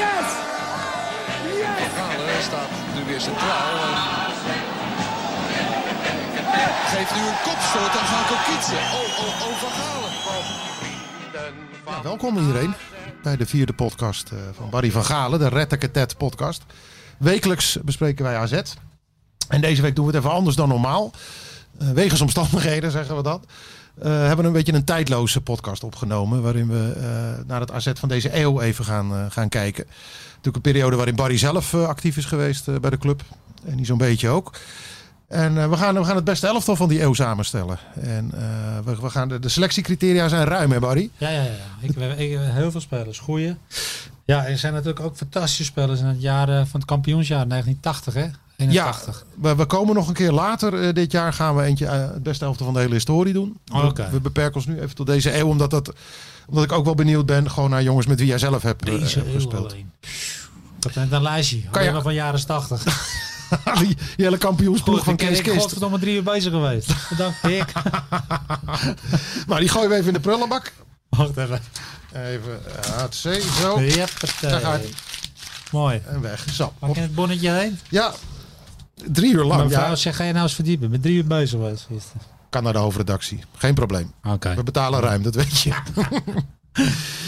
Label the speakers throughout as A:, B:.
A: Yes! Yes!
B: Galen staat nu weer centraal. En geeft nu een kopstoot aan Van Kokitsen. Oh, oh, oh, Van Galen.
C: Ja, welkom iedereen bij de vierde podcast eh, van Barry van Galen, de Rettekatet podcast. Wekelijks bespreken wij AZ. En deze week doen we het even anders dan normaal. Eh, wegens omstandigheden zeggen we dat. Eh, hebben een beetje een tijdloze podcast opgenomen. Waarin we eh, naar het AZ van deze eeuw even gaan, eh, gaan kijken. Natuurlijk een periode waarin Barry zelf eh, actief is geweest eh, bij de club. En die zo'n beetje ook. En eh, we, gaan, we gaan het beste elftal van die eeuw samenstellen. En eh, we, we gaan de, de selectiecriteria zijn ruim, hè Barry?
D: Ja, ja, ja. Ik, we- ik, heel veel spelers. Goeie. Ja, er zijn natuurlijk ook fantastische spelers in het jaar eh, van het kampioensjaar 1980, hè? 81.
C: Ja, we, we komen nog een keer later eh, dit jaar. Gaan we eentje eh, het beste helft van de hele historie doen.
D: Oh, oké.
C: We, we beperken ons nu even tot deze eeuw. Omdat, dat, omdat ik ook wel benieuwd ben gewoon naar jongens met wie jij zelf hebt eh,
D: Deze
C: hebt
D: eeuw
C: gespeeld.
D: alleen. Ik heb net een lijstje. Kan
C: je-
D: je... van jaren 80.
C: Die, die hele kampioensploeg
D: Goed,
C: van
D: ik ben
C: Kees
D: ik
C: Kist.
D: godverdomme drie uur bezig geweest. Bedankt, Pik.
C: Nou, die gooien we even in de prullenbak.
D: Wacht even.
C: Even eh, HC, zo.
D: Jeppatee.
C: Daar gaat hij.
D: Mooi.
C: En weg. Zo.
D: Pak je het bonnetje heen?
C: Ja, drie uur
D: Mijn
C: lang.
D: vrouw
C: Ja,
D: zegt, ga je nou eens verdiepen? Ik ben drie uur bezig geweest gisteren.
C: kan naar de hoofdredactie. Geen probleem.
D: Oké.
C: We betalen ruim, dat weet je.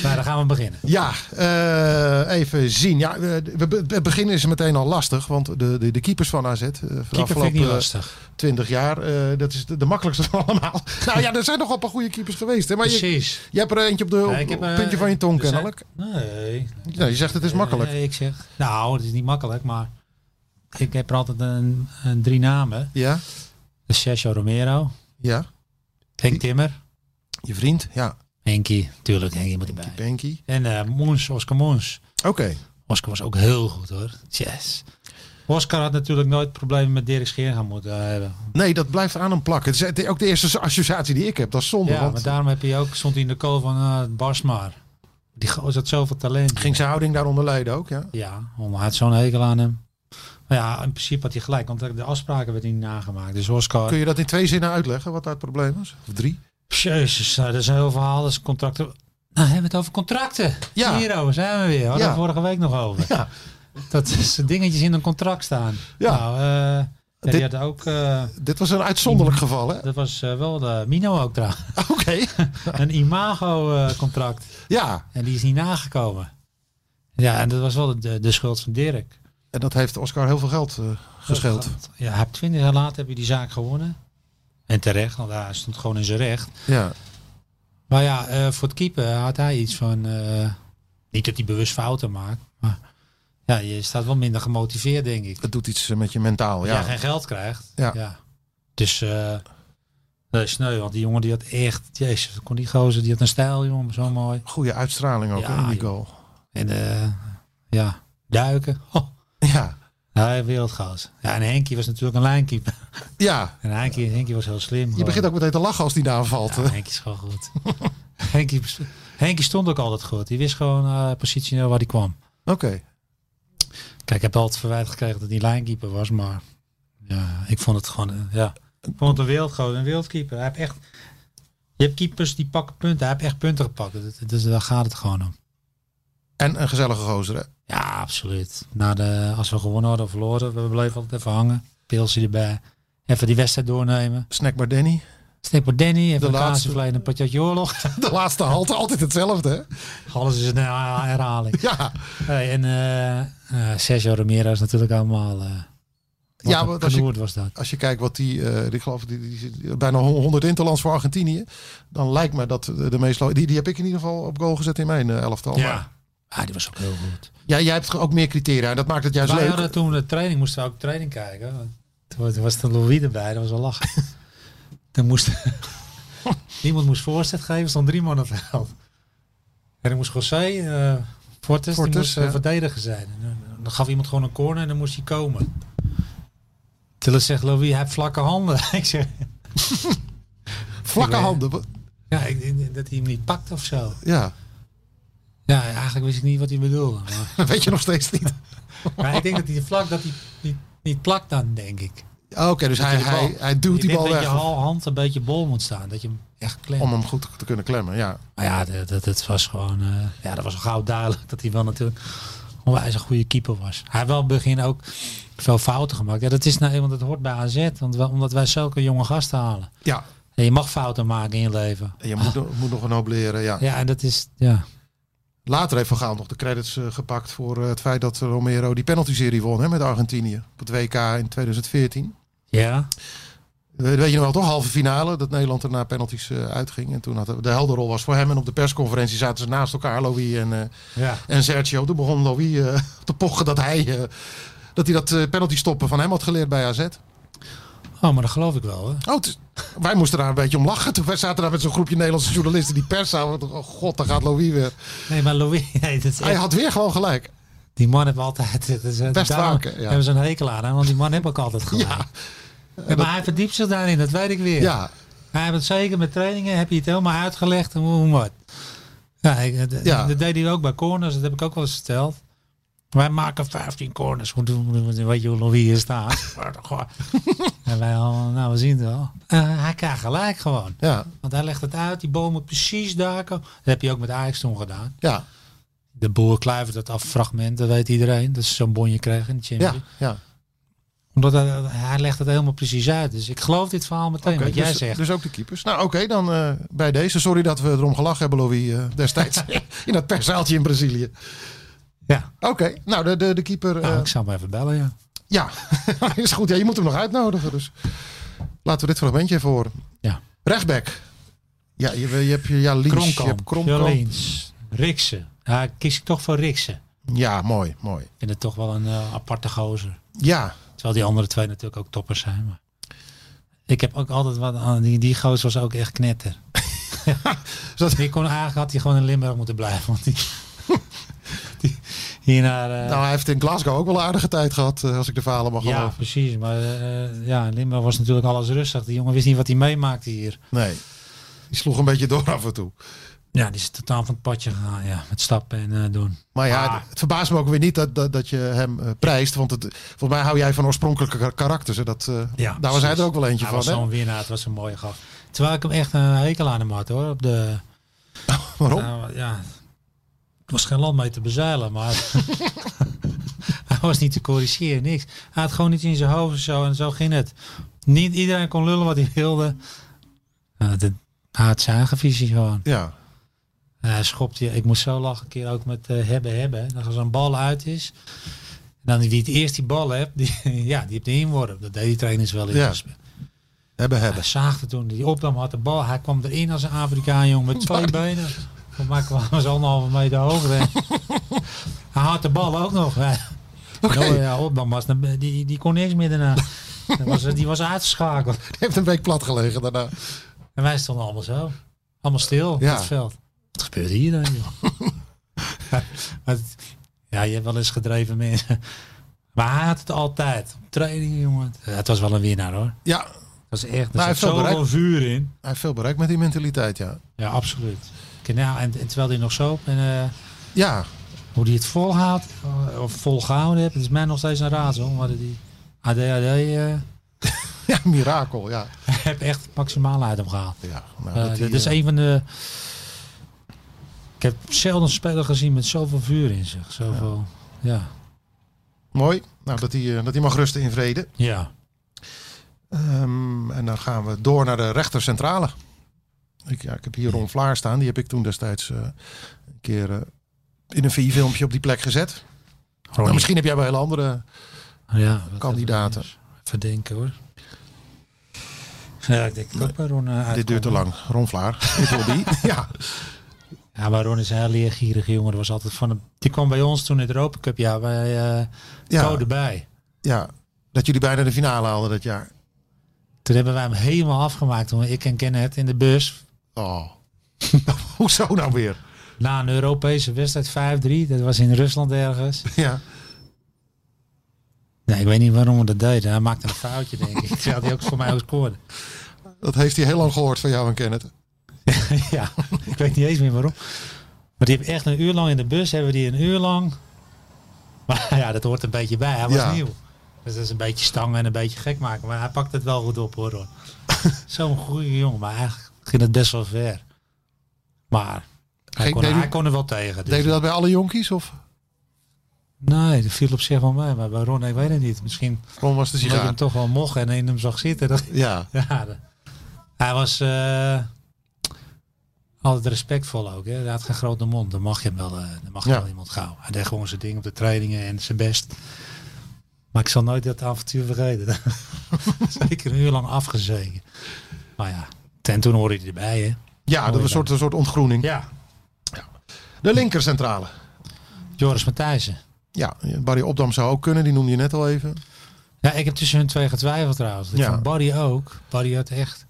D: Nou, dan gaan we beginnen.
C: Ja, eh, even zien. Ja, eh, we, be- het begin is meteen al lastig, want de, de, de keepers van AZ eh, van de
D: Keeper vind ik niet
C: afgelopen
D: lastig.
C: 20 jaar, eh, dat is de, de makkelijkste van allemaal. nou ja, er zijn nogal een paar goede keepers geweest, hè? maar je,
D: Precies.
C: je hebt er eentje op de
D: Ja,
C: op-
D: ik heb,
C: op het
D: eh,
C: puntje van je tong
D: er zijn-
C: kennelijk.
D: Nee,
C: Ja, je zegt het is makkelijk.
D: Eh, ik zeg, nou, het is niet makkelijk, maar ik heb er altijd een, een drie namen.
C: Ja,
D: Sergio Romero,
C: ja.
D: Henk Timmer,
C: Je vriend, ja,
D: Henkie, tuurlijk, Henkie moet erbij.
C: Benky.
D: En eh Moens, Oscar Moens.
C: Oké,
D: Oscar was ook heel goed hoor. Yes. Oscar had natuurlijk nooit problemen met Dirk Scheringa moeten eh, hebben.
C: nee, dat blijft aan hem plakken. Het is het- ook de eerste associatie die ik heb, dat is zonde.
D: Ja,
C: want
D: maar daarom heb je ook, stond hij in de kool van eh Barsmaar. Die gozer had zoveel talent.
C: ging zijn houding daaronder lijden ook, ja.
D: Ja, Hommel had zo'n hekel aan hem. Maar ja, in principe had hij gelijk, want de afspraken werden niet nagemaakt. Dus Oscar...
C: Kun je dat in twee zinnen uitleggen, wat daar het probleem is? Of drie?
D: Jezus, nou, dat is een heel verhaal. Dat is contracten. Nou, hebben we het over contracten.
C: Ja.
D: Hierover zijn we weer. We hadden
C: Ja.
D: het vorige week nog over.
C: Ja.
D: Dat is eh, dingetjes in een contract staan.
C: Ja.
D: Nou, eh, ja,
C: Dit-
D: die had ook... eh,
C: Dit was een uitzonderlijk geval, hè?
D: dat was eh, wel de Mino ook trouwens.
C: Oké.
D: een imago-contract.
C: Ja,
D: en die is niet nagekomen. Ja, en dat was wel de, de schuld van Dirk.
C: en dat heeft Oscar heel veel geld eh, gescheeld.
D: Ja, hij heeft 20 jaar later heb je die zaak gewonnen. En terecht, want hij stond gewoon in zijn recht.
C: Ja.
D: Maar ja, eh, voor het keeper had hij iets van. eh, niet dat hij bewust fouten maakt. Maar ja, je staat wel minder gemotiveerd, denk ik.
C: Het doet iets eh, met je mentaal,
D: Als
C: ja.
D: jij geen geld krijgt.
C: Ja.
D: Dus eh dat is sneu, want die jongen die had echt. Jezus, kon die gozer, die had een stijl, jongen, zo mooi.
C: Goede uitstraling ook,
D: Ja,
C: hè, in die
D: joh.
C: goal.
D: En eh, ja, duiken. Oh,
C: Ja.
D: hij wereldgozer. Ja, en Henkie was natuurlijk een lijnkeeper.
C: ja,
D: En Henkie, Henkie was heel slim.
C: je
D: gewoon.
C: begint ook meteen te lachen als die naam valt.
D: Ja, Henkie is gewoon goed. Henkie, best- Henkie stond ook altijd goed. Die wist gewoon eh positioneel waar hij kwam.
C: Oké.
D: Kijk, ik heb altijd verwijt gekregen dat hij lijnkeeper was, maar ja, ik vond het gewoon, eh, ja. Ik vond het een wereldgoot, een wereldkeeper. Hij heeft echt, je hebt keepers die pakken punten, hij heeft echt punten gepakt. Dat- dat- Dus daar gaat het gewoon om.
C: En een gezellige gozer, hè?
D: Ja, absoluut. Na de, als we gewonnen hadden of verloren, we bleven altijd even hangen. Pilsje erbij. Even die wedstrijd doornemen.
C: Snack maar Danny.
D: Steek voor Danny, even
C: De
D: een
C: laatste.
D: kaasvlees en een patatje oorlog.
C: De laatste halte, altijd hetzelfde, hè?
D: Alles is een herha- herhaling.
C: Ja,
D: Hey, en eh, eh, Sergio Romero is natuurlijk allemaal... eh wat
C: Ja,
D: een
C: want als je-
D: knoerd was dat.
C: als je kijkt wat die, eh ik geloof, die, die, die- bijna 100 interlands voor Argentinië. Dan lijkt me dat eh, de, de meest... lo- Die, die heb ik in ieder geval op goal gezet in mijn eh, elftal. Maar,
D: Ja. Ah, die was ook heel goed.
C: ja, jij hebt ook meer criteria en dat maakt het juist
D: Wij
C: leuk.
D: hadden toen de training, moesten we ook training kijken. Want Toen was- toen was de Louis erbij, dat was wel lachen. dan moest, niemand moest voorzet geven, er stond drie man op het veld. En dan moest José, eh Fortes, die
C: Fortes,
D: moest eh,
C: ja.
D: verdediger zijn. En, eh, Dan gaf iemand gewoon een corner en dan moest hij komen. Tille zegt, Louis, hij heeft vlakke handen. ik zeg,
C: Vlakke
D: Ik weet-
C: handen. wa-
D: ja, ik, ik- dat hij hem niet pakt of zo.
C: Ja,
D: Ja, eigenlijk wist ik niet wat hij bedoelde. Maar,
C: dat weet je nog steeds niet.
D: maar ik denk dat hij vlak dat hij niet, niet plakt dan, denk ik.
C: Oké, dus hij,
D: je de bal-
C: hij, hij duwt
D: Ik
C: die
D: denk
C: bal
D: dat
C: weg
D: je hal- hand een beetje bol moet staan. Dat je hem echt klemt.
C: om hem goed te kunnen klemmen. Ja,
D: Maar ja, dat, dat, dat was gewoon. eh, ja, dat was al gauw duidelijk dat hij wel natuurlijk onwijs een goede keeper was. Hij heeft wel in het begin ook veel fouten gemaakt. Ja, dat is nou eenmaal, dat hoort bij AZ. Want we- omdat wij zulke jonge gasten halen.
C: ja.
D: En je mag fouten maken in je leven.
C: En je moet, nog- moet nog een hoop leren. Ja.
D: Ja, en dat is. Ja,
C: Later heeft Van Gaal nog de credits eh, gepakt voor eh, het feit dat Romero die penalty-serie won hè, met Argentinië. Op het WK in 2014.
D: ja.
C: We- Weet je nog wel, toch? Halve finale. Dat Nederland er na penalties eh, uitging. En toen had de helderrol was voor hem. En op de persconferentie zaten ze naast elkaar, Louis en, eh,
D: ja.
C: en Sergio. Toen begon Louis eh, te pochen dat hij, eh, dat, hij dat eh, penalty stoppen van hem had geleerd bij AZ.
D: Oh, maar dat geloof ik wel. Hè.
C: Oh, het is- wij moesten daar een beetje om lachen. Toen wij zaten daar met zo'n groepje Nederlandse journalisten die pers zagen. Oh god, daar gaat Louis weer.
D: Nee, maar Louis, nee, dat is
C: Hij
D: echt-
C: had weer gewoon gelijk.
D: die man hebben altijd. Dat is,
C: Best
D: daarom
C: vaak, hè, ja.
D: Hebben ze een hekel aan, hè, want die man heeft ook altijd gelijk.
C: Ja,
D: Ja, maar hij verdiept zich daarin, dat weet ik weer.
C: ja,
D: Hij heeft het zeker met trainingen, heb je het helemaal uitgelegd en hoe hoe wat. Ja, ik- d-
C: Ja.
D: Dat deed hij ook bij corners, dat heb ik ook wel eens verteld. Wij maken 15 corners, hoe doen we dat? Weet je hoe Louis hier staat? en wij allemaal, nou we zien het wel. Eh, hij krijgt gelijk gewoon.
C: ja,
D: Want hij legt het uit, die bomen precies daar. komen. Dat heb je ook met Ajax toen gedaan.
C: ja,
D: De boer kluivert dat af fragment, dat weet iedereen. Dat ze zo'n bonje krijgen in de Champions
C: ja,
D: League.
C: ja.
D: Omdat hij, hij legt het helemaal precies uit. Dus ik geloof dit verhaal meteen,
C: Oké,
D: wat jij
C: dus,
D: zegt.
C: dus ook de keepers. Nou oké, dan eh, bij deze. Sorry dat we erom gelachen hebben, Louis, eh, destijds. in dat persaaltje in Brazilië.
D: ja,
C: Oké, nou de, de, de keeper. eh,
D: nou, ik zou hem even bellen, ja.
C: ja, is goed. Ja, je moet hem nog uitnodigen. Dus laten we dit fragmentje even horen.
D: Ja.
C: Rechtback. Ja, je, je hebt je, ja, Lynch, je hebt
D: Kronkamp,
C: Kronkamp.
D: Jolins, Riksen. Ja, ik kies ik toch voor Riksen.
C: Ja, mooi, mooi.
D: Ik vind het toch wel een eh, aparte gozer.
C: Ja,
D: Terwijl die andere twee natuurlijk ook toppers zijn. Maar ik heb ook altijd wat aan. Die, die gozer was ook echt knetter.
C: dat-
D: Die kon eigenlijk had hij gewoon in Limburg moeten blijven. Want die, die- hier naar... eh,
C: nou hij heeft in Glasgow ook wel een aardige tijd gehad, eh, als ik de verhalen mag
D: ja,
C: geloven.
D: precies. Maar eh, ja, in Limburg was natuurlijk alles rustig. Die jongen wist niet wat hij meemaakte hier.
C: Nee, die sloeg een beetje door af en toe.
D: Ja, die is totaal van het padje gegaan. Ja, met stappen en eh, doen.
C: Maar ja,
D: Maar-
C: het- het verbaast me ook weer niet dat, dat, dat je hem eh, prijst. Want het, volgens mij hou jij van oorspronkelijke kar- karakters. Hè? Dat, eh, daar was hij
D: precies.
C: er ook wel eentje
D: hij was
C: van. Hè?
D: zo'n winnaar, het was een mooie gast. Terwijl ik hem echt een hekel aan hem had hoor. Op de,
C: Waarom?
D: nou, ja, het was geen land mee te bezeilen, maar hij was niet te corrigeren, niks. Hij had gewoon niet in zijn hoofd of zo en zo ging het. Niet iedereen kon lullen wat hij wilde. Nou, de, hij had zijn eigen visie gewoon.
C: Ja.
D: En hij schopt je. Ik moest zo lachen een keer ook met eh, hebben hebben. Dan als er een bal uit is. En dan wie het eerst die bal hebt, die, ja, die heeft de inworp. Dat deed die trainers wel in
C: Ja.
D: gesprek.
C: Hebben,
D: Hij
C: hebben.
D: zaagde toen die opnam had de bal. Hij kwam erin als een Afrikaan jong met twee benen. Voor mij kwam hij zo'n halve meter hoger. En hij had de bal ook nog. hè.
C: Oké,
D: Nou, ja, opnam was naar- die, die kon niks meer daarna. Dat was, die was uitgeschakeld.
C: die heeft een week plat gelegen daarna.
D: En wij stonden allemaal zo. Allemaal stil op
C: Ja.
D: het veld. Wat gebeurt hier dan? Joh? Maar het- ja, je hebt wel eens gedreven mensen. Maar hij had het altijd. Op Training, jongen. Ja, het was wel een winnaar hoor.
C: Ja, hij
D: Het was echt. Er
C: hij
D: zat
C: heeft wel
D: zoveel
C: bereikt.
D: vuur in.
C: heeft veel bereikt met die mentaliteit, ja.
D: Ja, absoluut. Kijk, nou, en, en terwijl hij nog zo en eh,
C: Ja,
D: hoe die het volhoudt eh, of volgehouden heeft, het is mij nog steeds een raadsel. Maar die ADHD eh
C: ja mirakel, ja.
D: heb echt het maximale uit hem gehaald.
C: ja nou,
D: Eh,
C: dat die,
D: dit is
C: eh,
D: een van de. Ik heb zelden een speler gezien met zoveel vuur in zich. Zoveel. Ja.
C: Mooi. Nou, dat hij eh, dat hij mag rusten in vrede.
D: Ja.
C: Ehm, en dan gaan we door naar de rechter centrale. Ik, ja, ik heb hier Ron Vlaar staan. Die heb ik toen destijds eh, een keer eh, in een VI-filmpje op die plek gezet. Nou,
D: Ronnie.
C: misschien heb jij wel hele andere.
D: ja wat
C: Kandidaten.
D: even- Even denken hoor. Ja, ik denk ook bij Ron. eh,
C: Dit duurt te
D: uitkomen.
C: lang. Ron Vlaar. It will be. ja.
D: Ja, maar Ron is een heel leergierige jongen. Dat was altijd van hem. Die kwam bij ons toen in de Europa Cup. Ja, bij eh
C: Ja,
D: Code bij.
C: ja. Dat jullie bijna de finale haalden dat jaar.
D: Toen hebben wij hem helemaal afgemaakt. Toen ik en Kenneth in de bus.
C: Oh. Hoezo nou weer?
D: Na een Europese wedstrijd 5-3, dat was in Rusland ergens.
C: Ja.
D: Nee, ik weet niet waarom we dat deden. Hij maakte een foutje, denk ik. Terwijl hij ook voor mij ook scoorde.
C: Dat heeft hij heel lang gehoord van jou en Kenneth.
D: ja, ik weet niet eens meer waarom. Maar die heeft echt een uur lang in de bus, hebben die een uur lang. Maar ja, dat hoort een beetje bij. Hij was
C: Ja.
D: nieuw. Dus dat is een beetje stangen en een beetje gek maken. Maar hij pakt het wel goed op hoor. hoor. Zo'n goede jongen, maar eigenlijk ging het best wel ver. Maar hij,
C: Geen-
D: kon,
C: deed
D: hij
C: u-
D: kon er wel tegen. dus-
C: Deden dat bij alle jonkies? Of
D: Nee, dat viel op zich wel mee. Maar bij Ron, ik weet het niet. Misschien
C: Ron was de
D: dat je
C: sigaar?
D: hem toch wel mocht en in hem zag zitten. Dat,
C: Ja.
D: Ja, de- hij was eh, altijd respectvol ook. Hè? Hij had geen grote mond. Dan mag je hem wel, eh, dan mag je
C: Ja.
D: wel iemand gauw. Hij deed gewoon zijn ding op de trainingen en zijn best. Maar ik zal nooit dat avontuur vergeten. Zeker een uur lang afgezeken. Maar ja, ten toen hoorde hij erbij. Hè?
C: Ja, dat was een soort, een soort ontgroening.
D: Ja.
C: De linkercentrale.
D: Joris Matthijssen.
C: Ja, Barry Opdam zou ook kunnen. Die noemde je net al even.
D: Ja, ik heb tussen hun twee getwijfeld trouwens. Ik
C: Ja.
D: vond Barry ook. Barry had echt...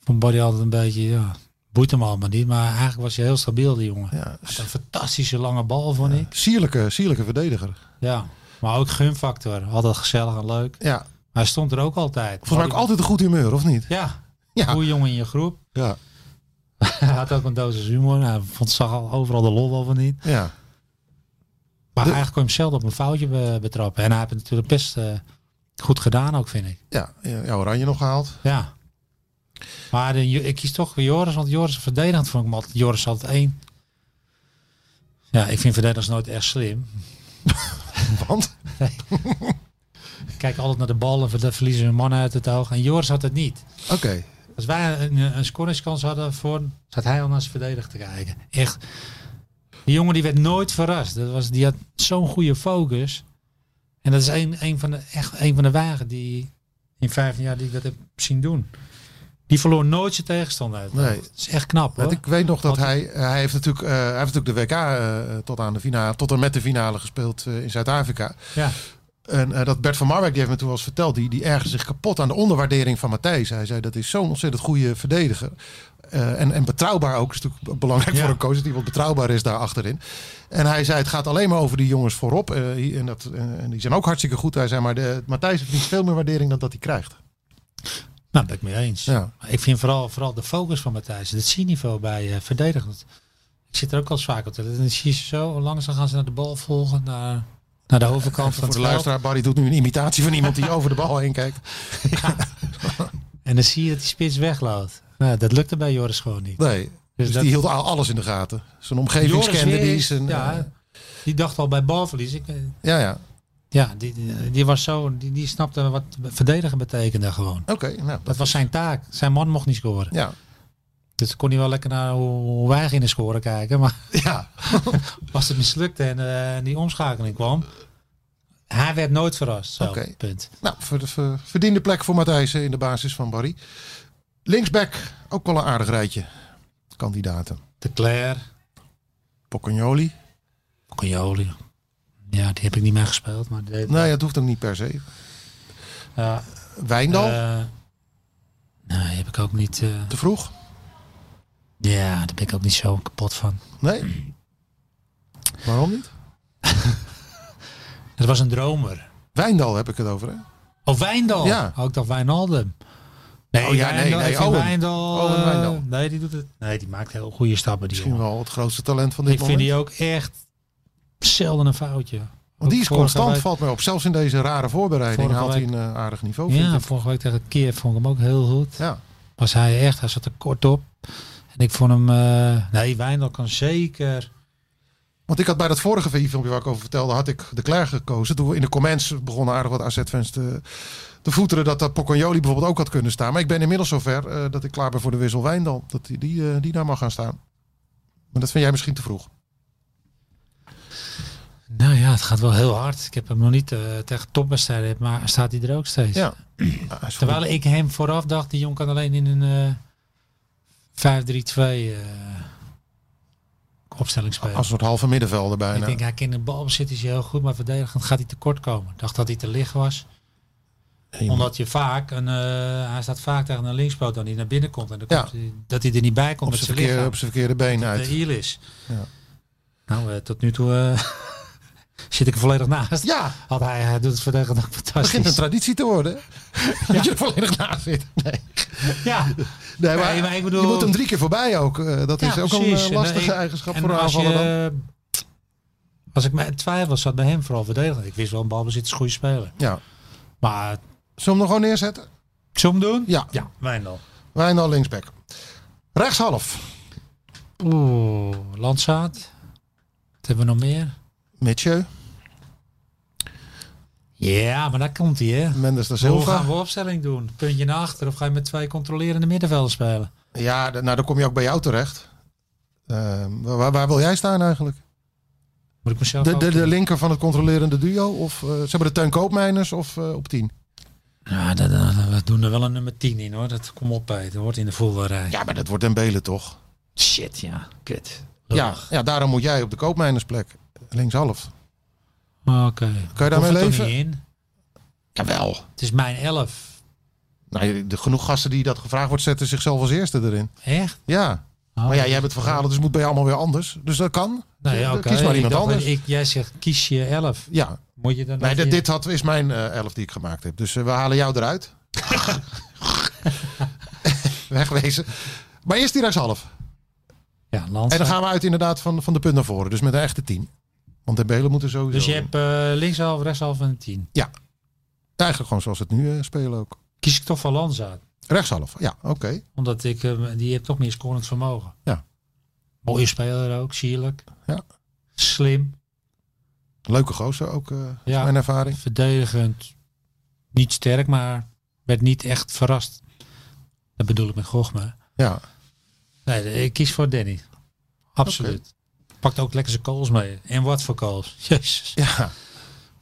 D: Ik vond Barry altijd een beetje... Ja, boeit hem allemaal niet. Maar eigenlijk was hij heel stabiel, die jongen.
C: Ja.
D: Had Een fantastische lange bal, vond ik.
C: Sierlijke, sierlijke verdediger.
D: Ja. Maar ook gunfactor. Altijd gezellig en leuk.
C: Ja,
D: Hij stond er ook altijd.
C: volgens mij ook altijd een goed humeur, of niet?
D: Ja.
C: Ja.
D: Goeie jongen in je groep.
C: Ja,
D: Hij had ook een dosis humor. Hij vond, zag al overal de lol wel van niet.
C: ja.
D: Maar
C: De-
D: eigenlijk kon je hem zelden op een foutje be- betrappen. En hij heeft het natuurlijk best eh, goed gedaan ook, vind ik.
C: Ja, ja, ja, Oranje nog gehaald.
D: Ja. Maar de, ik kies toch weer Joris, want Joris verdedigend vond ik hem altijd. Joris had het één. Ja, ik vind verdedigers nooit echt slim.
C: Want?
D: Kijk altijd naar de bal en ver- verliezen hun mannen uit het oog. En Joris had het niet.
C: Oké.
D: Als wij een, eh, een scoringskans hadden voor, zat hij al naar zijn verdediger te kijken. Echt. Die jongen die werd nooit verrast. Dat was, die had zo'n goede focus. En dat is een, een, van de, echt een van de wagen die in vijf jaar die ik dat heb zien doen. Die verloor nooit zijn tegenstander uit.
C: Nee.
D: Dat is echt knap hoor.
C: Want ik weet nog dat
D: Wat-
C: hij, hij heeft natuurlijk, eh, hij heeft natuurlijk de WK eh, tot aan de finale, tot en met de finale gespeeld eh, in Zuid-Afrika.
D: Ja.
C: En eh, dat Bert van Marwijk, die heeft me toen wel eens verteld, die, die ergerde zich kapot aan de onderwaardering van Matthijs. Hij zei dat is zo'n ontzettend goede verdediger. Eh, en, en betrouwbaar ook, is natuurlijk belangrijk
D: Ja.
C: voor een coach, dat iemand betrouwbaar is daar achterin. En hij zei het gaat alleen maar over die jongens voorop. eh, hier- en, dat, en- en die zijn ook hartstikke goed. Hij zei maar de, Matthijs verdient veel meer waardering dan dat hij krijgt.
D: Nou, ben ik mee eens.
C: Ja.
D: Maar Ik vind vooral, vooral de focus van Matthijs, het zienniveau bij eh verdedigend. Ik zit er ook al eens vaak op te letten. Dan zie je ze zo, langzaam gaan ze naar de bal volgen, naar, naar de overkant van
C: Voor de
D: het veld.
C: luisteraar, Barry doet nu een imitatie van iemand die over de bal heen kijkt.
D: En dan zie je dat die spits wegloopt. Nou, dat lukte bij Joris gewoon niet.
C: Nee. Dus,
D: Dus dat-
C: die hield al alles in de gaten. Zijn
D: Joris
C: omgeving kende die.
D: weer-
C: Zijn, eh,
D: ja, die dacht al bij balverlies. Ik, eh,
C: ja, ja.
D: ja, die, die, die was zo, die, die snapte wat verdedigen betekende gewoon.
C: Oké, nou.
D: Dat was zijn taak. Zijn man mocht niet scoren.
C: Ja.
D: Dus dan kon hij wel lekker naar hoe, hoe wij gingen scoren kijken. Maar
C: Ja.
D: als het mislukte en eh, die omschakeling kwam. Hij werd nooit verrast. Zo,
C: Oké.
D: punt.
C: Nou, ver- ver- verdiende plek voor Matthijsen in de basis van Barry. Linksback, ook wel een aardig rijtje. Kandidaten.
D: De Claire,
C: Pocagnoli.
D: Cognoli. Ja, die heb ik niet meer gespeeld. Maar die deed-
C: Nee, dat hoeft ook niet per se.
D: ja,
C: Wijndal,
D: eh, nee, heb ik ook niet. eh,
C: te vroeg.
D: ja, daar ben ik ook niet zo kapot van.
C: Nee. Waarom niet?
D: Het was een dromer.
C: Wijndal heb ik het over, hè?
D: Oh, Wijndal.
C: Ja,
D: Ook dat Wijnaldum. Nee,
C: Oh, ja, nee,
D: Wijndal,
C: nee,
D: ik vind
C: Owen.
D: Wijndal,
C: Owen
D: eh,
C: Wijndal.
D: nee, die doet het. Nee, die maakt heel goede stappen. Die
C: Misschien
D: jongen.
C: wel het grootste talent van dit
D: Ik vind
C: moment.
D: die ook echt zelden een foutje.
C: Want die is
D: Vorige
C: constant,
D: week-
C: valt mij op. Zelfs in deze rare voorbereiding
D: Vorige
C: haalt hij een eh, aardig niveau. vind
D: Ja,
C: ik.
D: vorige week tegen Kiev vond ik hem ook heel goed.
C: ja.
D: Was hij echt, hij zat er kort op. En ik vond hem, eh, nee, Wijndal kan zeker.
C: Want ik had bij dat vorige filmpje waar ik over vertelde, had ik de Klerk gekozen. Toen we in de comments begonnen aardig wat AZ-fans te, te voeteren dat dat Pocagnoli bijvoorbeeld ook had kunnen staan. Maar ik ben inmiddels zover eh dat ik klaar ben voor de wissel Wijndal. Dat die, die, eh, die daar mag gaan staan. Maar dat vind jij misschien te vroeg.
D: Nou ja, het gaat wel heel hard. Ik heb hem nog niet eh, tegen topwedstrijden, maar staat hij er ook steeds.
C: Ja. Ah, hij is voor-
D: Terwijl ik hem vooraf dacht, die jong kan alleen in een eh 5-3-2 eh, opstelling spelen.
C: als een soort halve middenvelder
D: ik
C: bijna.
D: denk, hij kan in de balbezit is hij heel goed, maar verdedigend gaat hij tekort komen. Ik dacht dat hij te licht was. Omdat je vaak, een, eh, hij staat vaak tegen een linkspoot dan die naar binnen komt. En dan
C: Ja.
D: komt hij- dat hij er niet bij komt
C: op
D: met
C: zijn
D: zijn
C: verkeerde,
D: lichaam.
C: op zijn verkeerde been
D: De
C: uit.
D: hiel is.
C: Ja.
D: Nou, eh, tot nu toe eh, zit ik er volledig naast.
C: Ja,
D: Had hij, hij doet het vandaag nog
C: het begint een
D: fantastisch.
C: traditie te worden. Dat je er volledig naast zit. Nee,
D: Ja,
C: nee maar,
D: Nee, maar ik bedoel-
C: je moet hem drie keer voorbij ook. eh, Dat
D: Ja,
C: is ook een
D: precies.
C: eh,
D: En,
C: lastige
D: eh,
C: eigenschap
D: en
C: voor een
D: als
C: aanvaller dan.
D: je- eh, Als ik me twijfel zat bij hem vooral verdedigen. Ik wist wel, een balbezit is een goede speler.
C: Ja.
D: Maar eh,
C: Zullen we hem nog gewoon neerzetten?
D: Zullen we hem doen?
C: Ja,
D: Ja, Wijndal.
C: Wijndal linksback. Rechtshalf,
D: Oeh, Landzaat. Wat hebben we nog meer?
C: Mitchell,
D: Ja, maar daar komt hij, hè?
C: Mendes da
D: Hoe gaan
C: Silva.
D: we opstelling doen? Puntje naar achter of ga je met twee controlerende middenvelden spelen?
C: Ja, d- nou dan kom je ook bij jou terecht. Eh, waar, waar wil jij staan eigenlijk?
D: Moet ik mezelf
C: De,
D: ook
C: de, de
D: doen?
C: linker van het controlerende duo? Of eh, ze hebben de Teun Koopmeiners of eh, op 10?
D: Ja, dat- dat- dat- we doen er wel een nummer 10 in, hoor. Dat kom op, Peter. Hoort in de voetbalrij.
C: Ja, maar dat wordt Dembele toch?
D: Shit, ja. Kut.
C: Ja, ja, daarom moet jij op de koopmijnersplek. Linkshalf.
D: Oké.
C: Kan je
D: Hoef
C: daarmee
D: het toch
C: leven?
D: niet in?
C: Jawel.
D: Het is mijn 11.
C: Nou, de, genoeg gasten die dat gevraagd wordt, zetten zichzelf als eerste erin.
D: Echt?
C: Ja.
D: Oh.
C: Maar ja, jij bent vergaderd, dus moet bij jou allemaal weer anders. Dus dat kan.
D: Nee,
C: Eh,
D: oké.
C: Kies maar
D: Ik
C: iemand
D: dacht,
C: anders.
D: ik- jij zegt kies je 11.
C: Ja.
D: Moet je dan
C: Nee,
D: nog
C: dit,
D: je-
C: dit had, is mijn eh, elf die ik gemaakt heb. Dus eh, we halen jou eruit. Wegwezen. Maar eerst die rechtshalf.
D: Ja,
C: En dan
D: Landzaat.
C: gaan we uit inderdaad van, van de punt naar voren. Dus met een echte tien. Want de Belen moeten sowieso...
D: Dus je hebt eh linkshalf, rechtshalf en een 10.
C: Eigenlijk gewoon zoals het nu eh, spelen ook.
D: Kies ik toch voor Landzaat.
C: Rechtshalf. Ja, oké.
D: Omdat ik, eh, die heeft toch meer scorend vermogen.
C: Ja.
D: Mooie speler ook, sierlijk.
C: Ja.
D: Slim,
C: Leuke gozer ook, eh, is
D: Ja.
C: mijn ervaring.
D: verdedigend. Niet sterk, maar werd niet echt verrast. Dat bedoel ik met Gochme.
C: Ja,
D: Nee, ik kies voor Danny. Absoluut. Pakt ook lekker zijn kools mee. En wat voor kools. Jezus.
C: ja,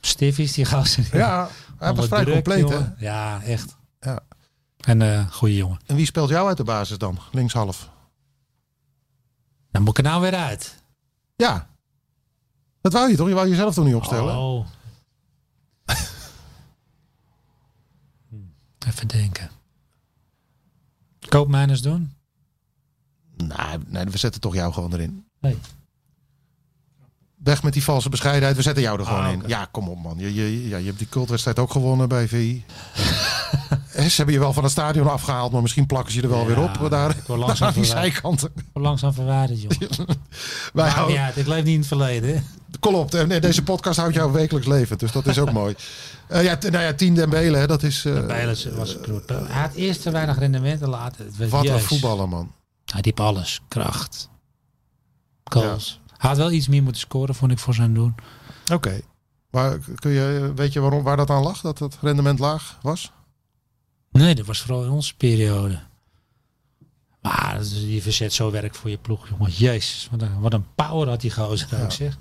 D: Stiff is die gozer.
C: ja. Hij was vrij compleet, hè?
D: jongen. Ja, echt.
C: Ja.
D: En eh goede jongen.
C: En wie speelt jou uit de basis dan? Linkshalf.
D: Dan moet ik er nou weer uit.
C: Ja. Dat wou je toch? Je wou jezelf toch niet opstellen?
D: Oh. Even denken. Koopmijners doen?
C: Nee, Nou, nee, we zetten toch jou gewoon erin.
D: Nee.
C: Weg met die valse bescheidenheid. We zetten jou er gewoon
D: Ah,
C: in.
D: oké.
C: Ja, kom op, man. Je, je, ja, je hebt die cultwedstrijd ook gewonnen bij VI. Ze hebben je wel van het stadion afgehaald, maar misschien plakken ze je er wel weer op. eh, Daar,
D: Ik word langzaam,
C: aan die
D: verwaardigd.
C: zijkanten.
D: Ik word langzaam verwaardigd, joh.
C: Wij
D: Maakt
C: houden-
D: niet uit, ik leef niet in het
C: Eh,
D: verleden. hè.
C: Nou, Klopt. En nee, deze podcast houdt jou wekelijks levend. Dus dat is ook mooi. Eh, ja, t- nou ja, Tien Dembele, hè, dat is... eh,
D: Bijlers was een knoet. Hij had eerst te weinig rendement en later... het werd
C: wat een
D: juist.
C: voetballer, man.
D: Hij diep alles. Kracht. Goals. Hij had wel iets meer moeten scoren, vond ik, voor zijn doen.
C: Oké. Maar kun je, eh, weet je waarom, waar dat aan lag? Dat het rendement laag was?
D: Nee, dat was vooral in onze periode. Maar dat is- je verzet zo werk voor je ploeg, jongen. Jezus, wat een, wat een power had die gozer ook, zeg.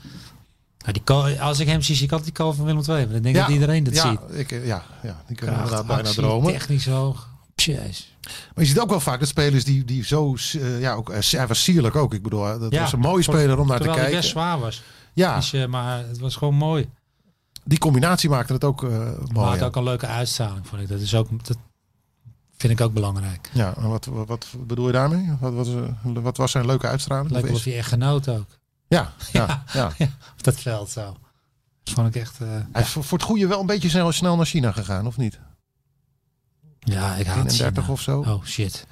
D: Nou, die ko- als ik hem zie, zie ik altijd die kool van Willem II. want ik denk dat iedereen dat
C: ja,
D: ziet.
C: Ik, eh, ja, ja, die kunnen
D: Kracht,
C: inderdaad bijna
D: actie,
C: dromen.
D: technisch hoog. Jezus.
C: Maar je ziet ook wel vaak dat spelers die, die zo... eh, ja, ook, eh, hij was sierlijk ook. Ik bedoel, eh, dat
D: Ja,
C: was een mooie
D: voor-
C: speler om naar te
D: Terwijl hij best
C: kijken.
D: zwaar was.
C: Ja,
D: Dus, eh, maar het was gewoon mooi.
C: die combinatie maakte het ook eh,
D: Maar
C: mooi.
D: hij
C: ja.
D: had ook een leuke uitstraling, vond ik. Dat, is ook, dat vind ik ook belangrijk.
C: Ja, en wat, wat, wat bedoel je daarmee? Wat, wat, is- wat was zijn leuke uitstraling?
D: Lijkt wel
C: Of
D: of
C: is-
D: je echt genoot ook.
C: ja, ja, ja.
D: Op dat veld zo. Dat vond ik echt... eh,
C: Hij is voor voor het goede wel een beetje snel, snel naar China gegaan, of niet?
D: ja, ik haat
C: 31
D: China.
C: of zo.
D: Oh shit.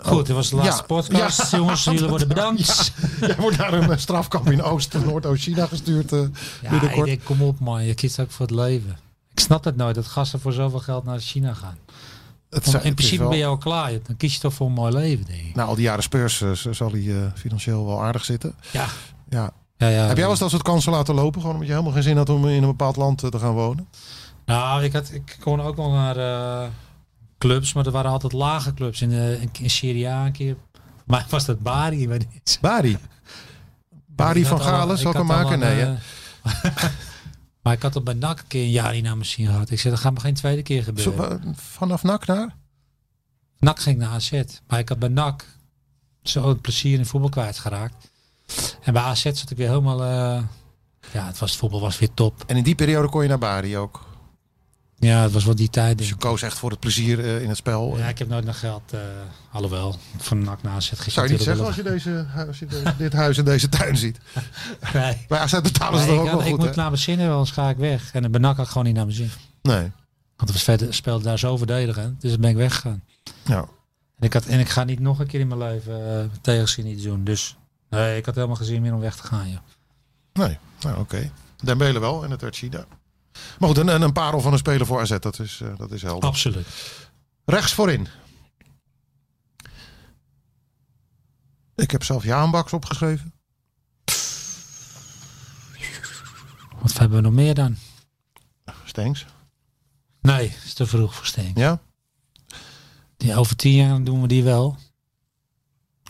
D: Goed, dit was de laatste
C: Oh. Ja.
D: podcast. Jongens, jullie worden bedankt.
C: Jij wordt naar een eh, strafkamp in Oost- en Noord-Oost-China gestuurd eh,
D: Ja, ik
C: binnenkort.
D: denk, kom op man, je kiest ook voor het leven. Ik snap het nooit, dat gasten voor zoveel geld naar China gaan.
C: Het
D: Want
C: zijn-
D: in
C: het is
D: principe
C: wel-
D: ben je al klaar. Dan kies je toch voor een mooi leven, denk ik.
C: Na al die jaren speurs eh, z- zal hij eh, financieel wel aardig zitten.
D: Ja.
C: Ja.
D: Ja, ja,
C: Heb jij wel eens dat soort kansen laten lopen? Gewoon omdat je helemaal geen zin had om in een bepaald land eh, te gaan wonen?
D: Nou, ik, had, ik kon ook wel naar eh, clubs, maar dat waren altijd lage clubs. In, eh, in, in Serie A een keer. Maar was dat Bari? Ik weet niet.
C: Bari. Bari
D: Ik had
C: van
D: al-
C: Galen zal ik hem
D: had al
C: maken?
D: een,
C: Nee, hè?
D: eh, maar ik had al bij NAC een keer een jaar in naar mijn zin gehad. Ik zei, dat gaat me geen tweede keer
C: Zo,
D: gebeuren.
C: eh, vanaf NAC naar?
D: NAC ging naar AZ. Maar ik had bij NAC zo het plezier in voetbal kwijtgeraakt. En bij AZ zat ik weer helemaal... eh, ja, het, was, het voetbal was weer top.
C: En in die periode kon je naar Bari ook.
D: Ja, het was wel die tijd.
C: Dus
D: denk
C: je
D: ik.
C: koos echt voor het plezier eh, in het spel.
D: Ja, ik heb nooit naar geld. eh alhoewel, van nak naast het
C: Zou je niet zeggen als je, deze, hu- als je de- dit huis en deze tuin ziet.
D: Nee.
C: Bij AZ betalen ze
D: Nee,
C: er
D: ik,
C: ook wel
D: had- ik
C: goed, hè?
D: moet naar mijn zin hebben, anders ga ik weg. En dan benak ik gewoon niet naar mijn zin.
C: Nee.
D: Want het verder speelde daar zo verdedigend. Dus dan ben ik weggegaan.
C: Ja.
D: En ik, had, en ik ga niet nog een keer in mijn leven eh tegenzin iets doen. Dus nee, ik had helemaal geen zin meer om weg te gaan. Joh.
C: Nee. Nou, oké. Dembele wel en het werd Chida. Maar goed, een, een parel van een speler voor AZ, dat is, eh, dat is helder.
D: Absoluut.
C: Rechts voorin. Ik heb zelf Jaan Baks opgeschreven.
D: Wat hebben we nog meer dan?
C: Stengs.
D: Nee, is te vroeg voor Steen.
C: Ja?
D: Die over tien jaar doen we die wel.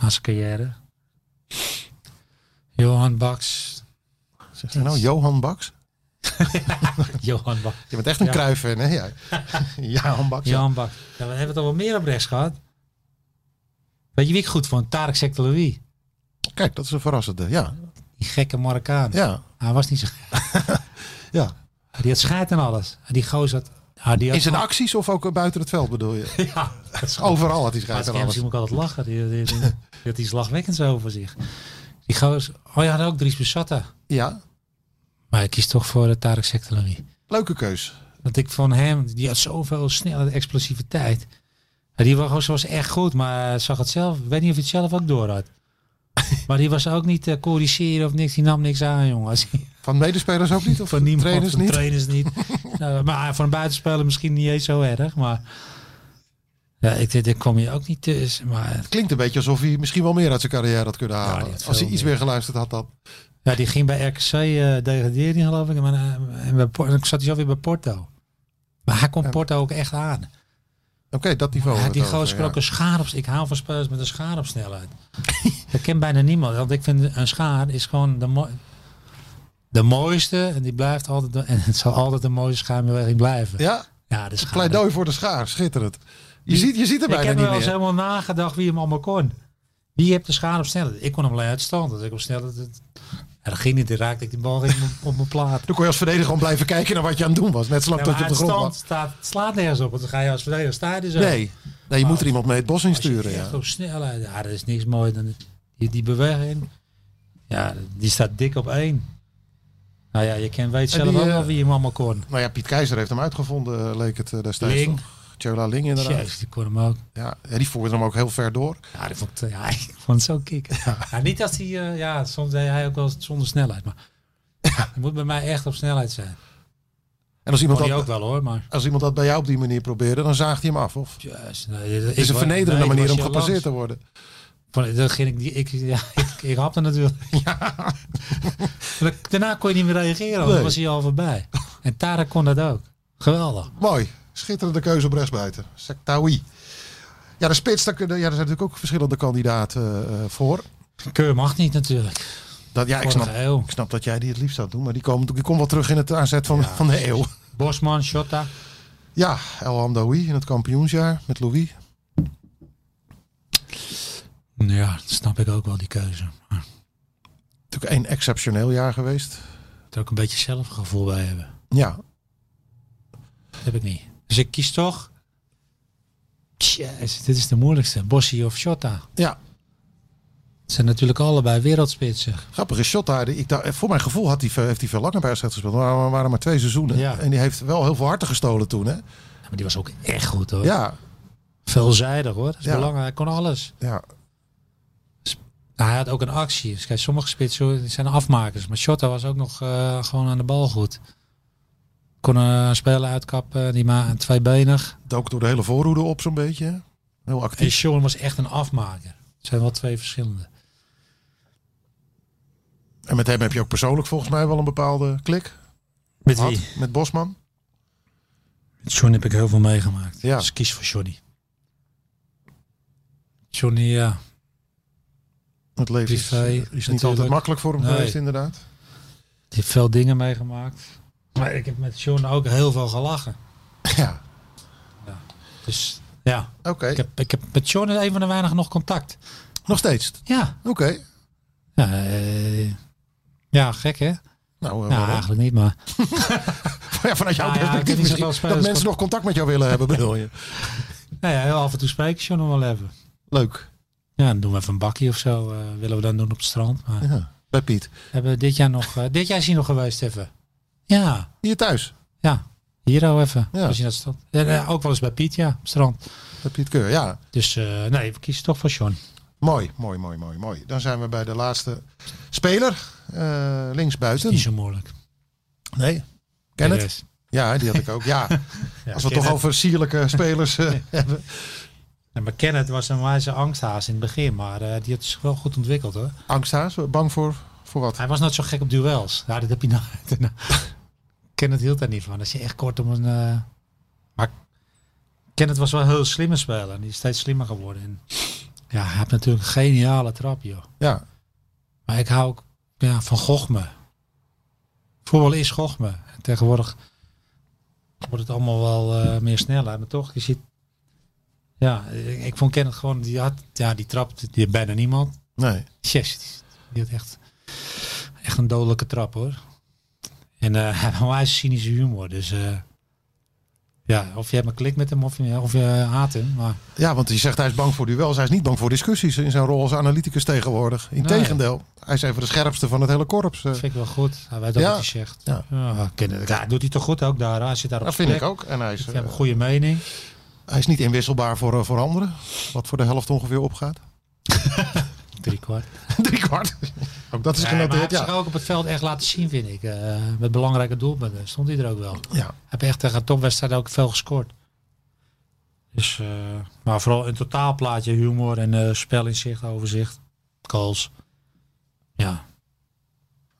D: Na zijn carrière. Johan Baks.
C: Zegt hij nou Johan Baks?
D: Johan Baks.
C: Je bent echt een
D: Ja.
C: kruiven, hè? jij? Jaan Baks. Ja.
D: Johan Baks. Ja, we hebben het al wel meer op rechts gehad. Weet je wie ik goed vond? Tarek Sekteloui.
C: Kijk, dat is een verrassende. Ja.
D: Die gekke Marokkaan.
C: Ja.
D: Hij was niet zo...
C: ja.
D: Die had scheid en alles. En die gozer had... Ja, die had
C: In zijn acties of ook buiten het veld bedoel je?
D: Ja, dat is goed.
C: Overal had hij
D: Als
C: schijt aan
D: ik hem
C: oh, alles.
D: zie, moet ik altijd lachen. Die, die, die, die had iets lachwekkends over zich. Die gozer... Oh ja, had ook Dries Besatta.
C: Ja.
D: Maar ik kies toch voor eh, Tarek Sekteloui.
C: Leuke keus.
D: Want ik van hem, die had zoveel snelle explosiviteit. En die was, was echt goed, maar hij zag het zelf. Ik weet niet of hij het zelf ook door had. Maar die was ook niet eh, corrigeren of niks. Die nam niks aan, jongen. Als hij-
C: Van medespelers ook niet? Of van
D: niemand,
C: trainers
D: van
C: niet?
D: Trainers niet. nou, maar voor een buitenspeler misschien niet eens zo erg. Maar ja, ik denk, daar kwam je ook niet tussen. Maar
C: Klinkt een beetje alsof hij misschien wel meer uit zijn carrière had kunnen halen.
D: die had
C: Als hij
D: veel
C: iets
D: meer.
C: meer geluisterd had dan.
D: ja, die ging bij RKC eh degraderen, die, geloof ik. En, eh, en bij Por- dan zat hij zo weer bij Porto. Maar hij kon Porto ook echt aan.
C: Oké, dat niveau.
D: Ja,
C: had
D: die
C: het over,
D: gozer kan
C: ja.
D: ook een schaar op. Ik haal van spelers met een schaar op snelheid. dat kent bijna niemand. Want ik vind een schaar is gewoon de, mo- de mooiste. En die blijft altijd. de- en het zal altijd de mooiste schaarbeweging blijven.
C: Ja,
D: ja de schaar.
C: pleidooi voor de schaar. Schitterend. Je,
D: Die-
C: ziet, je ziet er
D: ik
C: bijna
D: heb
C: niet
D: wel eens
C: meer.
D: helemaal nagedacht wie hem allemaal kon. Wie heeft de schaar op snelheid? Ik kon hem alleen uit stand. Dat ik op snelheid. Dat, ja, dat ging niet. Dan raakte ik die bal ging op- op mijn plaat.
C: Dan kon je als verdediger gewoon blijven kijken naar wat je aan het doen was. Net zolang
D: Ja,
C: dat
D: maar
C: je op de
D: uit
C: grond
D: stand
C: was.
D: staat, slaat nergens op. Want dan ga je als verdediger staan. Dus
C: Nee, nee je moet er iemand mee het bos in sturen.
D: Als je
C: Ja.
D: echt op snelheid. Ja, dat is niks mooier dan die, die beweging. Ja, die staat dik op één. Nou ja, je kan weet
C: En
D: zelf
C: die,
D: ook
C: eh,
D: wel wie hem allemaal kon.
C: Nou ja, Piet Keizer heeft hem uitgevonden, eh, leek het eh, destijds.
D: Ling.
C: toch? Chola Ling inderdaad.
D: Jezus, die kon hem ook.
C: Ja, ja, die voerde hem ook heel ver door.
D: Ja, die vond, ik- ja, ik vond het zo kicken. Ja, niet dat hij, eh, ja, soms deed hij ook wel zonder snelheid. Maar het moet bij mij echt op snelheid zijn.
C: En als iemand,
D: Kon hij
C: dat,
D: ook wel hoor, maar...
C: als iemand dat bij jou op die manier probeerde, dan zaagt hij hem af. Of?
D: Jezus, nee,
C: Het is een vernederende manier om gepasseerd te
D: te
C: worden.
D: worden. Dat ging ik, eh, die- ik, ja, ik, ik hapte natuurlijk. Maar Daarna kon je niet meer reageren, want
C: Nee.
D: dan was hij al voorbij. En Tara kon dat ook. Geweldig.
C: Mooi. Schitterende keuze op rechtsbuiten. Sektawi. Ja, de spits, daar, kunnen, ja, er zijn natuurlijk ook verschillende kandidaten eh, voor.
D: Keur mag niet natuurlijk.
C: Dat, ja, ik
D: Vorige
C: snap,
D: eeuw.
C: ik snap dat jij die het liefst zou doen, maar die komt die komt wel terug in het aanzet van, van de eeuw.
D: Bosman, Shotta.
C: Ja, El Hamdaoui in het kampioensjaar met Louis.
D: Ja, dat snap ik ook wel, die keuze. Maar
C: Natuurlijk één exceptioneel jaar geweest.
D: er ook een beetje zelfgevoel bij hebben.
C: Ja,
D: Dat heb ik niet. Dus ik kies toch... Jezus, dit is de moeilijkste. Bossi of Shotta.
C: ja.
D: Het zijn natuurlijk allebei wereldspitsen.
C: grappig is Shotta. die- Ik dacht, voor mijn gevoel had hij, veel- heeft hij veel langer bij AZ gespeeld. Maar er waren maar twee seizoenen.
D: Ja.
C: En die heeft wel heel veel harten gestolen toen. Hè?
D: Maar die was ook echt goed hoor.
C: Ja,
D: Veelzijdig hoor. Dat is
C: Ja.
D: belangrijk. Hij kon alles.
C: ja.
D: Nou, hij had ook een actie. Dus kijk, sommige spitsen hoor, die zijn afmakers. Maar Shotta was ook nog eh, gewoon aan de bal goed. Kon eh, een speler uitkappen. eh, Die maar tweebenig.
C: Dook door de hele voorhoede op zo'n beetje. hè. Heel
D: En
C: actief.
D: Sean was echt een afmaker. Het zijn wel twee verschillende.
C: En met hem heb je ook persoonlijk volgens mij wel een bepaalde klik.
D: Met
C: gehad. Met Bosman.
D: Met Sean heb ik heel veel meegemaakt.
C: Ja.
D: Dus ik kies voor Johnny. Johnny, ja.
C: Het leven is,
D: Privé,
C: is niet altijd
D: natuurlijk.
C: makkelijk voor hem
D: Nee.
C: geweest inderdaad.
D: Die heeft veel dingen meegemaakt. Maar ik heb met Sean ook heel veel gelachen.
C: Ja,
D: Dus ja,
C: oké.
D: ik heb, ik heb met Sean is een van de weinigen nog contact.
C: Nog steeds.
D: Ja.
C: Oké.
D: Ja, eh, ja gek hè?
C: Nou, eh,
D: Nou,
C: waarom?
D: eigenlijk niet, maar...
C: Nou, eh, Ja, vanuit jouw
D: Nou ja, ik heb
C: perspectief
D: niet
C: misschien.
D: zoveel
C: Dat
D: spelers-
C: mensen nog contact met jou willen hebben, bedoel je?
D: Nou ja, heel af en toe spreken ze nog wel even.
C: Leuk.
D: Ja, dan doen we even een bakje of zo. eh, willen we dan doen op het strand. Maar
C: Ja. Bij Piet.
D: hebben we dit jaar nog... eh, dit jaar is hij nog geweest even. Ja,
C: Hier thuis.
D: ja. Hier al even.
C: Ja.
D: Als je dat strand. En, eh, ook wel eens bij Piet, ja. op het strand.
C: Bij Piet Keur. Ja.
D: Dus eh, nee, we kiezen toch voor Sean.
C: Mooi, mooi, mooi, mooi, mooi. Dan zijn we bij de laatste speler. Eh linksbuiten.
D: Niet zo moeilijk.
C: Nee. Ken het?
D: Perez.
C: Ja, die had ik ook. Ja.
D: Ja,
C: Als we het
D: Kenneth.
C: toch over sierlijke spelers eh, hebben.
D: Ja, maar Kenneth was een wijze angsthaas in het begin. Maar eh, die had zich wel goed ontwikkeld hoor.
C: Angsthaas, bang voor, voor wat?
D: Hij was nooit zo gek op duels. Ja, dat heb je nou. Kenneth hield daar niet van. Dat je echt kort om een. eh, Maar Kenneth was wel een heel slimme speler. En die is steeds slimmer geworden. En ja, hij heeft natuurlijk een geniale trap, joh.
C: Ja,
D: Maar ik hou ook ja, van gochme. Voetbal is gochme. En Tegenwoordig wordt het allemaal wel eh, meer sneller. Maar toch, je ziet... Ja, ik, ik vond Kenneth gewoon... Die, had, ja, die trapt die had bijna niemand.
C: nee.
D: Yes, die, die had echt, echt een dodelijke trap, hoor. En eh, hij had een wijze cynische humor. Dus eh, ja, of je hebt een klik met hem of je, of je haat hem. Maar
C: Ja, want hij zegt hij is bang voor duels. Hij is niet bang voor discussies in zijn rol als analyticus tegenwoordig. Integendeel, hij is even de scherpste van het hele korps. eh.
D: dat vind ik wel goed. Hij weet ook
C: Ja.
D: wat hij zegt.
C: Ja.
D: Ja. Kenneth, ja, doet hij toch goed ook daar. hè? Hij zit daar op
C: Dat
D: zijn
C: vind ik
D: plek.
C: ook. En hij is,
D: Ik heb een
C: eh,
D: goede mening.
C: hij is niet inwisselbaar voor, eh, voor anderen. Wat voor de helft ongeveer opgaat.
D: Drie kwart.
C: Drie kwart. Ook dat is
D: maar hij
C: genoteerd,
D: heeft zich
C: ja.
D: ook op het veld echt laten zien, vind ik. Eh, met belangrijke doelpunten stond hij er ook wel. Hij
C: ja.
D: heeft echt tegen topwedstrijden ook veel gescoord. Dus, eh, maar vooral een totaalplaatje humor en eh spelinzicht, overzicht, calls. Ja,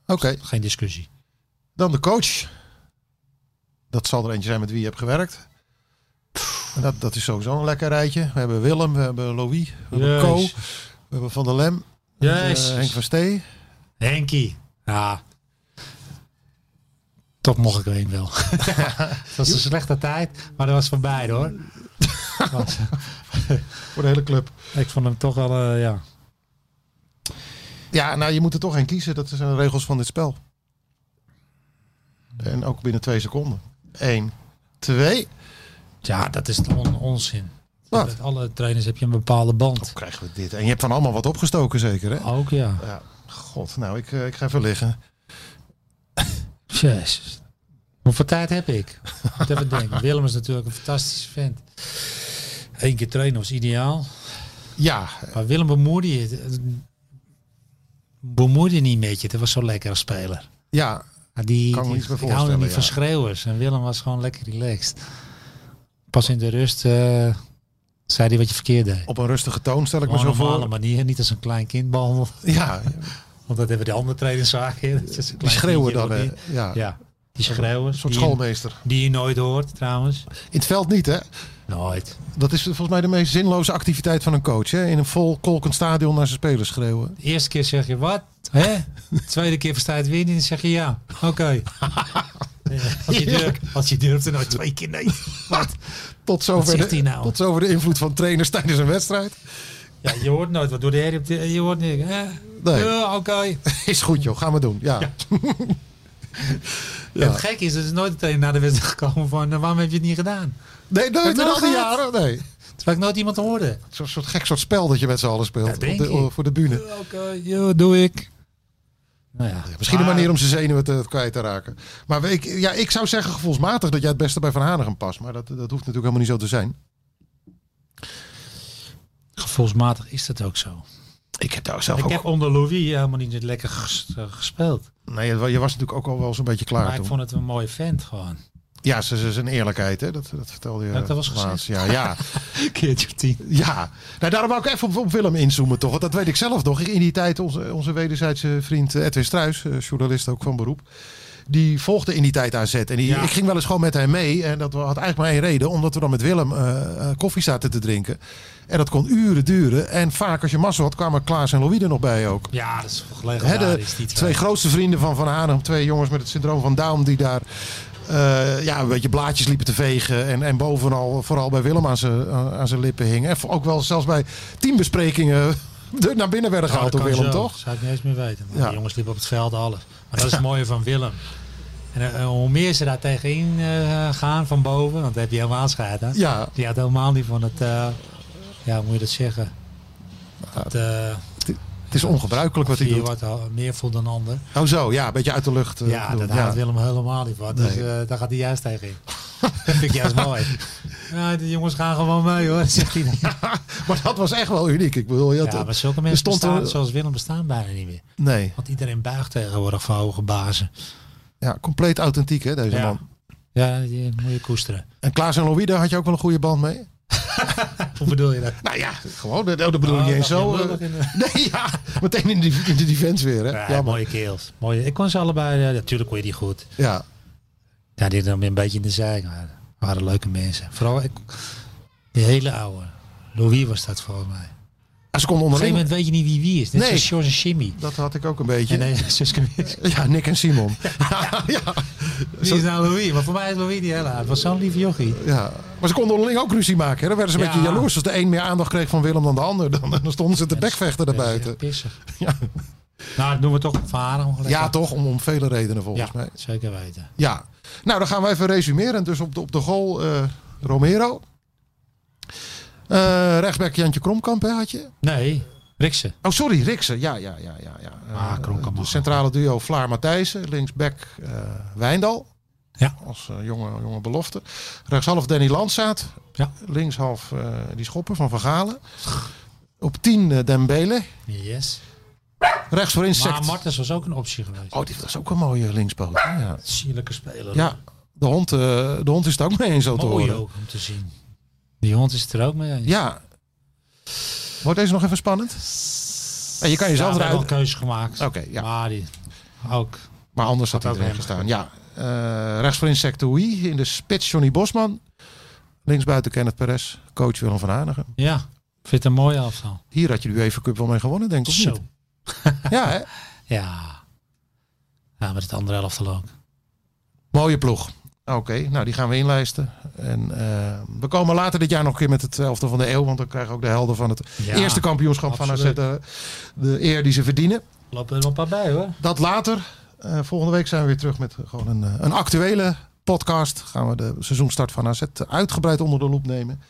C: Oké,
D: geen discussie.
C: dan de coach. Dat zal er eentje zijn met wie je hebt gewerkt. En dat, dat is sowieso een lekker rijtje. We hebben Willem, we hebben Louis, we hebben Co, we
D: Jezus.
C: hebben Van der Lem,
D: Jezus.
C: eh, Henk van Stee.
D: Henkie. Ja. Toch mocht ik er een wel. Het was een slechte tijd, maar dat was voor beide hoor. Want,
C: Voor de hele club.
D: ik vond hem toch wel, eh, ja.
C: Ja, nou je moet er toch een kiezen. Dat zijn de regels van dit spel. En ook binnen twee seconden. Eén, twee.
D: Ja, dat is on onzin.
C: Wat?
D: Met alle trainers heb je een bepaalde band.
C: Hoe krijgen we dit? En je hebt van allemaal wat opgestoken zeker hè?
D: Ook ja.
C: Ja, god. Nou, ik, eh, ik ga even liggen.
D: Jezus. Hoeveel tijd heb ik? Moet even denken. Willem is natuurlijk een fantastische vent. Eén keer trainen was ideaal.
C: Ja,
D: Maar Willem bemoeide je, eh, bemoeide je niet met je. Dat was zo lekker als speler.
C: ja.
D: Ja, Die,
C: Kan me
D: die,
C: iets bij
D: ik hou
C: voorstellen,
D: niet van
C: ja.
D: schreeuwers. En Willem was gewoon lekker relaxed. Pas in de rust eh, zei hij wat je verkeerd deed.
C: Op een rustige toon stel ik
D: Op
C: me
D: een
C: zo
D: Oh, normale
C: voor.
D: manier. Niet als een klein kind behandeld.
C: Ja,
D: Want dat hebben de andere trainers vaak. hè. Dat is een
C: die
D: klein
C: schreeuwen
D: kindje
C: dan.
D: wordt
C: hè.
D: niet-
C: ja.
D: Ja, die schreeuwen.
C: Een soort
D: die, je,
C: schoolmeester.
D: die je nooit hoort trouwens.
C: In het veld niet, hè?
D: Nooit.
C: Dat is volgens mij de meest zinloze activiteit van een coach. Hè? In een vol kolkend stadion naar zijn spelers schreeuwen.
D: De eerste keer zeg je wat? Hè? De tweede keer versta je het weer niet en dan zeg je ja. Oké. Als, je durft, als je durft er nooit twee keer nee. Wat?
C: Tot zover,
D: zegt
C: de,
D: hij nou?
C: tot zover de invloed van trainers tijdens een wedstrijd.
D: Ja, je hoort nooit wat door de herrie op de- Je hoort niks. Hè?
C: Nee.
D: Ja, oké.
C: Is goed joh, gaan we doen. Ja.
D: En Het gek is, er is nooit een trainer naar de wedstrijd gekomen van eh, waarom heb je het niet gedaan?
C: Nee, nooit in
D: nou
C: al die
D: gaat?
C: jaren. Nee.
D: Terwijl ik nooit iemand hoorde.
C: Zo'n soort gek soort spel dat je met z'n allen
D: Ja,
C: speelt. op
D: denk
C: de-
D: ik.
C: voor de bühne.
D: Ja, Oké, ja, doe ik. Nou ja.
C: Misschien een
D: Maar-
C: manier om zijn zenuwen te, kwijt te raken. Maar ik, ja, ik zou zeggen gevoelsmatig dat jij het beste bij Van Hanegem past. Maar dat, dat hoeft natuurlijk helemaal niet zo te zijn.
D: Gevoelsmatig is dat ook zo.
C: Ik heb daar zelf
D: Ik heb onder Louis helemaal niet lekker ges- eh, gespeeld.
C: Nee, je was natuurlijk ook al wel zo'n beetje klaar
D: Maar ik
C: toen.
D: vond het een mooie vent gewoon.
C: Ja, ze ze- zijn eerlijkheid, hè? Dat, dat vertelde je
D: Ja, dat was
C: laatst. Ja, ja.
D: Keertje of tien.
C: Ja, nou daarom wou ik even op, op Willem inzoomen toch. Want dat weet ik zelf nog. In die tijd onze, onze wederzijdse vriend eh, Edwin Struis, eh, journalist ook van beroep. Die volgde in die tijd AZ. En die,
D: Ja.
C: ik ging wel eens gewoon met hem mee. En dat had eigenlijk maar één reden. Omdat we dan met Willem eh, eh, koffie zaten te drinken. En dat kon uren duren. En vaak als je massa had kwamen Klaas en Louis er nog bij ook.
D: Ja, dat is toch
C: Hè,
D: legendarisch.
C: de
D: is die
C: twee grootste vrienden van Van Hanegem. Twee jongens met het syndroom van Down die daar eh, ja, een beetje blaadjes liepen te vegen. En, en bovenal vooral bij Willem aan zijn aan- aan zijn lippen hingen. En ook wel zelfs bij teambesprekingen er naar binnen werden
D: Nou,
C: gehaald
D: dat
C: door
D: kan
C: Willem,
D: zo.
C: toch?
D: Zou ik niet eens meer weten. Maar
C: Ja.
D: die jongens liepen op het veld alles. Maar dat is het mooie van Willem. En eh, hoe meer ze daar tegenin eh, gaan van boven, want dan heb je helemaal scheid hè?
C: Ja,
D: Die had helemaal niet van het, eh, ja, hoe moet je dat zeggen? Dat, eh,
C: het is ongebruikelijk wat hij
D: je
C: doet.
D: wat al- meer voelt dan ander.
C: Oh zo, ja, een beetje uit de lucht. eh,
D: Ja,
C: bedoel,
D: dat haalt Willem helemaal niet van. Dus
C: Nee.
D: eh, daar gaat hij juist tegen in. dat vind ik juist mooi. Ja, de jongens gaan gewoon mee hoor, zegt hij. eh, dan.
C: Maar dat was echt wel uniek. Ik bedoel, je had-
D: Ja, maar zulke mensen
C: stond
D: bestaan,
C: er-
D: zoals Willem bestaan bijna niet meer.
C: Nee,
D: Want iedereen buigt tegenwoordig voor hoge bazen.
C: ja, compleet authentiek hè, deze
D: Ja.
C: man.
D: Ja, die moet je koesteren.
C: En Klaas en Louis, daar had je ook wel een goede band mee?
D: Hoe bedoel je dat?
C: Nou ja, gewoon, dat dat bedoel ik
D: Oh,
C: niet eens
D: dacht
C: zo.
D: je,
C: eh,
D: lullig in de-
C: Nee, ja, meteen in de, in de defense weer hè.
D: Ja,
C: Ja, maar-
D: mooie keels. Mooie. Ik kon ze allebei, ja, natuurlijk kon je die goed.
C: ja,
D: Ja, die dan weer een beetje in de zijk waren. Waren leuke mensen. Vooral ik, die hele oude. Louis was dat volgens mij. Op een
C: En Ah, ze konden
D: gegeven
C: onderling.
D: moment weet je niet wie wie is. Net
C: Nee.
D: zoals George en Jimmy.
C: Dat had ik ook een beetje.
D: En nee, Suske Wiske.
C: Ja, Nick en Simon. Ja, ja,
D: Wie is nou Louis? Maar voor mij is Louis die hele aard. Was zo'n lieve jochie.
C: ja. Maar ze konden onderling ook ruzie maken. Hè? Dan werden ze een
D: Ja.
C: beetje jaloers. Als de een meer aandacht kreeg van Willem dan de ander, dan, dan stonden ze te bekvechten daarbuiten.
D: Pissig.
C: Ja.
D: Nou, dat doen we toch van haar ongelukkig.
C: Ja, toch? Om, om vele redenen volgens
D: Ja,
C: mij.
D: zeker weten.
C: Ja. Nou, dan gaan we even resumeren. Dus op de, op de goal eh, Romero. Eh rechtsback Jantje Kromkamp hè, had je.
D: Nee, Riksen.
C: Oh, sorry, Riksen. Ja, ja, ja, ja. ja. Eh,
D: Ah, Kromkamp
C: de
D: mag.
C: centrale duo Vlaar Matthijssen. Linksback eh, Wijndal.
D: Ja.
C: Als eh, jonge, jonge belofte. Rechtshalf Danny Landsaat.
D: Ja.
C: Linkshalf eh, die schoppen van Van Galen. Op 10 eh, Dembele.
D: Yes.
C: Rechts voor
D: Maar
C: Insect.
D: Martens was ook een optie geweest.
C: Oh, dit was ook een mooie linkspoot. hè? Ja.
D: Sierlijke speler.
C: ja. De hond, eh, de hond is het ook mee eens zo te
D: Mooi
C: horen.
D: ook om te zien. Die hond is het er ook mee eens.
C: Ja. Wordt deze nog even spannend? Nee, je kan jezelf
D: we hebben wel
C: eruit.
D: een keuze gemaakt.
C: Oké, ja.
D: Maar die ook.
C: Maar anders had
D: Had
C: hij
D: ook
C: erin
D: hem.
C: gestaan. Ja. Eh rechts voor Insectoui. In de spits Johnny Bosman. Links buiten Kenneth Perez. Coach Willem van Hanegem.
D: Ja, ik vind het een mooi afval.
C: Hier had je de UEFA Cup wel mee gewonnen, denk ik. Of niet?
D: Zo.
C: Ja, hè?
D: Ja. Ja, met het andere elftal ook.
C: Mooie ploeg. Oké, nou die gaan we inlijsten. En eh, we komen later dit jaar nog een keer met het elftal van de eeuw. Want dan krijgen we ook de helden van het
D: Ja,
C: eerste kampioenschap
D: absoluut.
C: van AZ. eh, de eer die ze verdienen.
D: Lopen er nog een paar bij hoor.
C: Dat later. Eh, volgende week zijn we weer terug met gewoon een, eh, een actuele podcast. Gaan we de seizoenstart van AZ uitgebreid onder de loep nemen.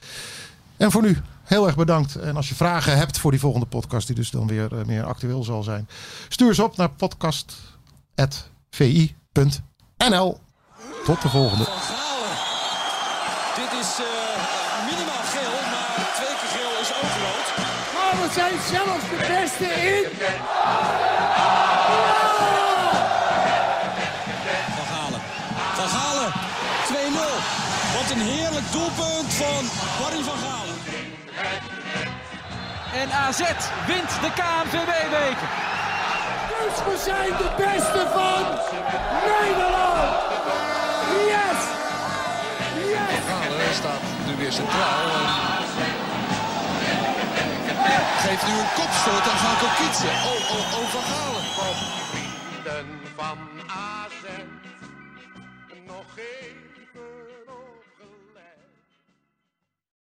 C: En voor nu, heel erg bedankt. En als je vragen hebt voor die volgende podcast, die dus dan weer eh, meer actueel zal zijn. Stuur ze op naar podcast.vi.nl. Tot de volgende.
E: Van Galen. Dit is eh, minimaal geel, maar twee keer geel is ook rood.
A: Maar Oh, we zijn zelfs de beste in.
E: Van Galen. Van Galen. 2-0. Wat een heerlijk doelpunt van Barry van Galen.
F: En AZ wint de KNVB-beker.
A: Dus we zijn de beste van Nederland. Yes! Yes!
B: Galen staat nu weer centraal. en Geeft nu een kopstoot aan Van Kokitse. Oh, oh, oh, Van Galen.
G: vrienden van AZ.